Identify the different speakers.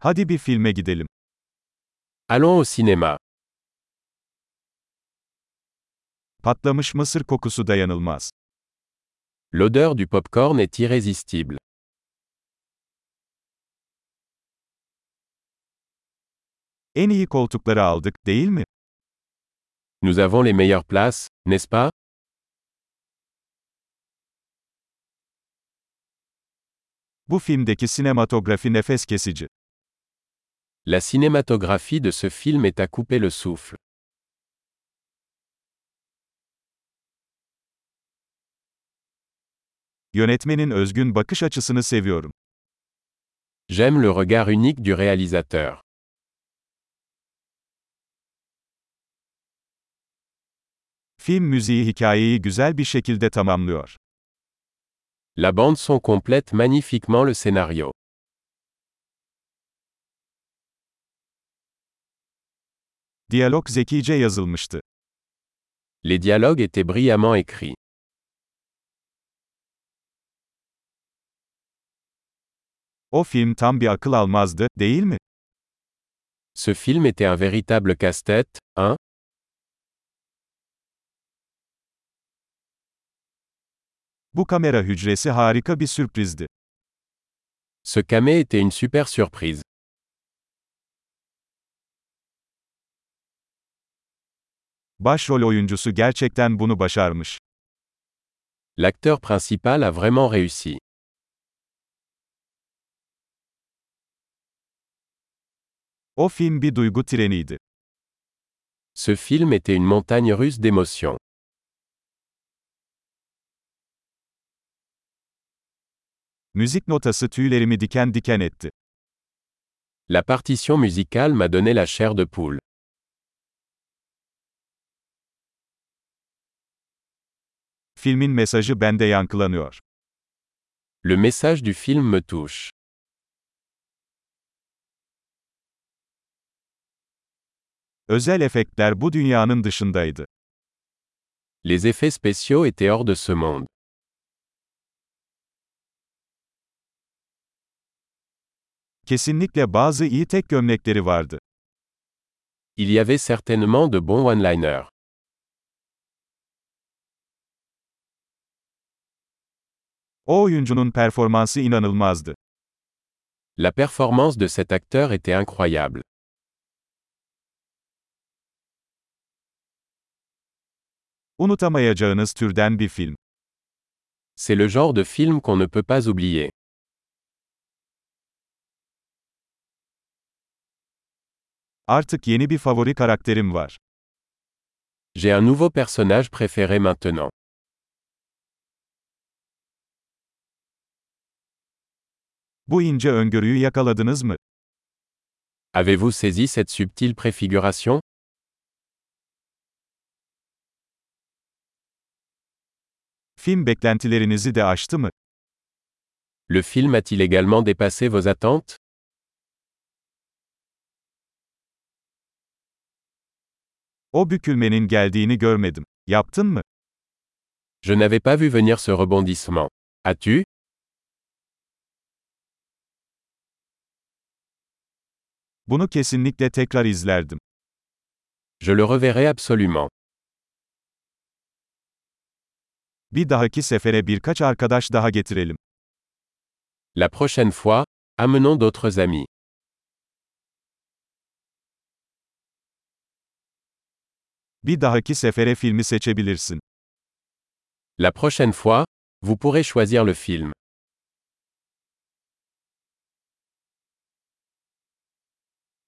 Speaker 1: Hadi bir filme gidelim.
Speaker 2: Allons au cinéma.
Speaker 1: Patlamış mısır kokusu dayanılmaz.
Speaker 2: L'odeur du popcorn est irrésistible.
Speaker 1: En iyi koltukları aldık, değil mi?
Speaker 2: Nous avons les meilleures places, n'est-ce pas
Speaker 1: Bu filmdeki sinematografi nefes kesici.
Speaker 2: La cinématographie de ce film est à couper le souffle.
Speaker 1: Yönetmenin özgün bakış açısını seviyorum.
Speaker 2: J'aime le regard unique du réalisateur.
Speaker 1: Film müziği hikayeyi güzel bir şekilde tamamlıyor.
Speaker 2: La bande son complète magnifiquement le scénario.
Speaker 1: Diyalog zekice yazılmıştı.
Speaker 2: Les dialogues étaient brillamment écrits.
Speaker 1: O film tam bir akıl almazdı, değil mi?
Speaker 2: Ce film était un véritable casse-tête, hein
Speaker 1: Bu kamera hücresi harika bir sürprizdi.
Speaker 2: Ce camé était une super surprise.
Speaker 1: Başrol oyuncusu gerçekten bunu başarmış.
Speaker 2: L'acteur principal a vraiment réussi.
Speaker 1: O film bir duygu treniydi.
Speaker 2: Ce film était une montagne russe d'émotions.
Speaker 1: Müzik notası tüylerimi diken diken etti.
Speaker 2: La partition musicale m'a donné la chair de poule.
Speaker 1: Filmin mesajı bende yankılanıyor.
Speaker 2: Le message du film me touche.
Speaker 1: Özel efektler bu dünyanın dışındaydı.
Speaker 2: Les effets spéciaux étaient hors de ce monde.
Speaker 1: Kesinlikle bazı iyi tek gömlekleri vardı.
Speaker 2: Il y avait certainement de bons one-liners.
Speaker 1: O oyuncunun performansı inanılmazdı.
Speaker 2: La performance de cet acteur était incroyable.
Speaker 1: Unutamayacağınız türden bir film.
Speaker 2: C'est le genre de film qu'on ne peut pas oublier.
Speaker 1: Artık yeni bir favori karakterim var.
Speaker 2: J'ai un nouveau personnage préféré maintenant.
Speaker 1: Bu ince öngörüyü yakaladınız mı?
Speaker 2: Avez-vous saisi cette subtile préfiguration
Speaker 1: Film beklentilerinizi de aştı mı?
Speaker 2: Le film a-t-il également dépassé vos attentes
Speaker 1: O bükülmenin geldiğini görmedim. Yaptın mı?
Speaker 2: Je n'avais pas vu venir ce rebondissement. As-tu
Speaker 1: Bunu kesinlikle tekrar izlerdim.
Speaker 2: Je le reverrai absolument.
Speaker 1: Bir dahaki sefere birkaç arkadaş daha getirelim.
Speaker 2: La prochaine fois, amenons d'autres amis.
Speaker 1: Bir dahaki sefere filmi seçebilirsin.
Speaker 2: La prochaine fois, vous pourrez choisir le film.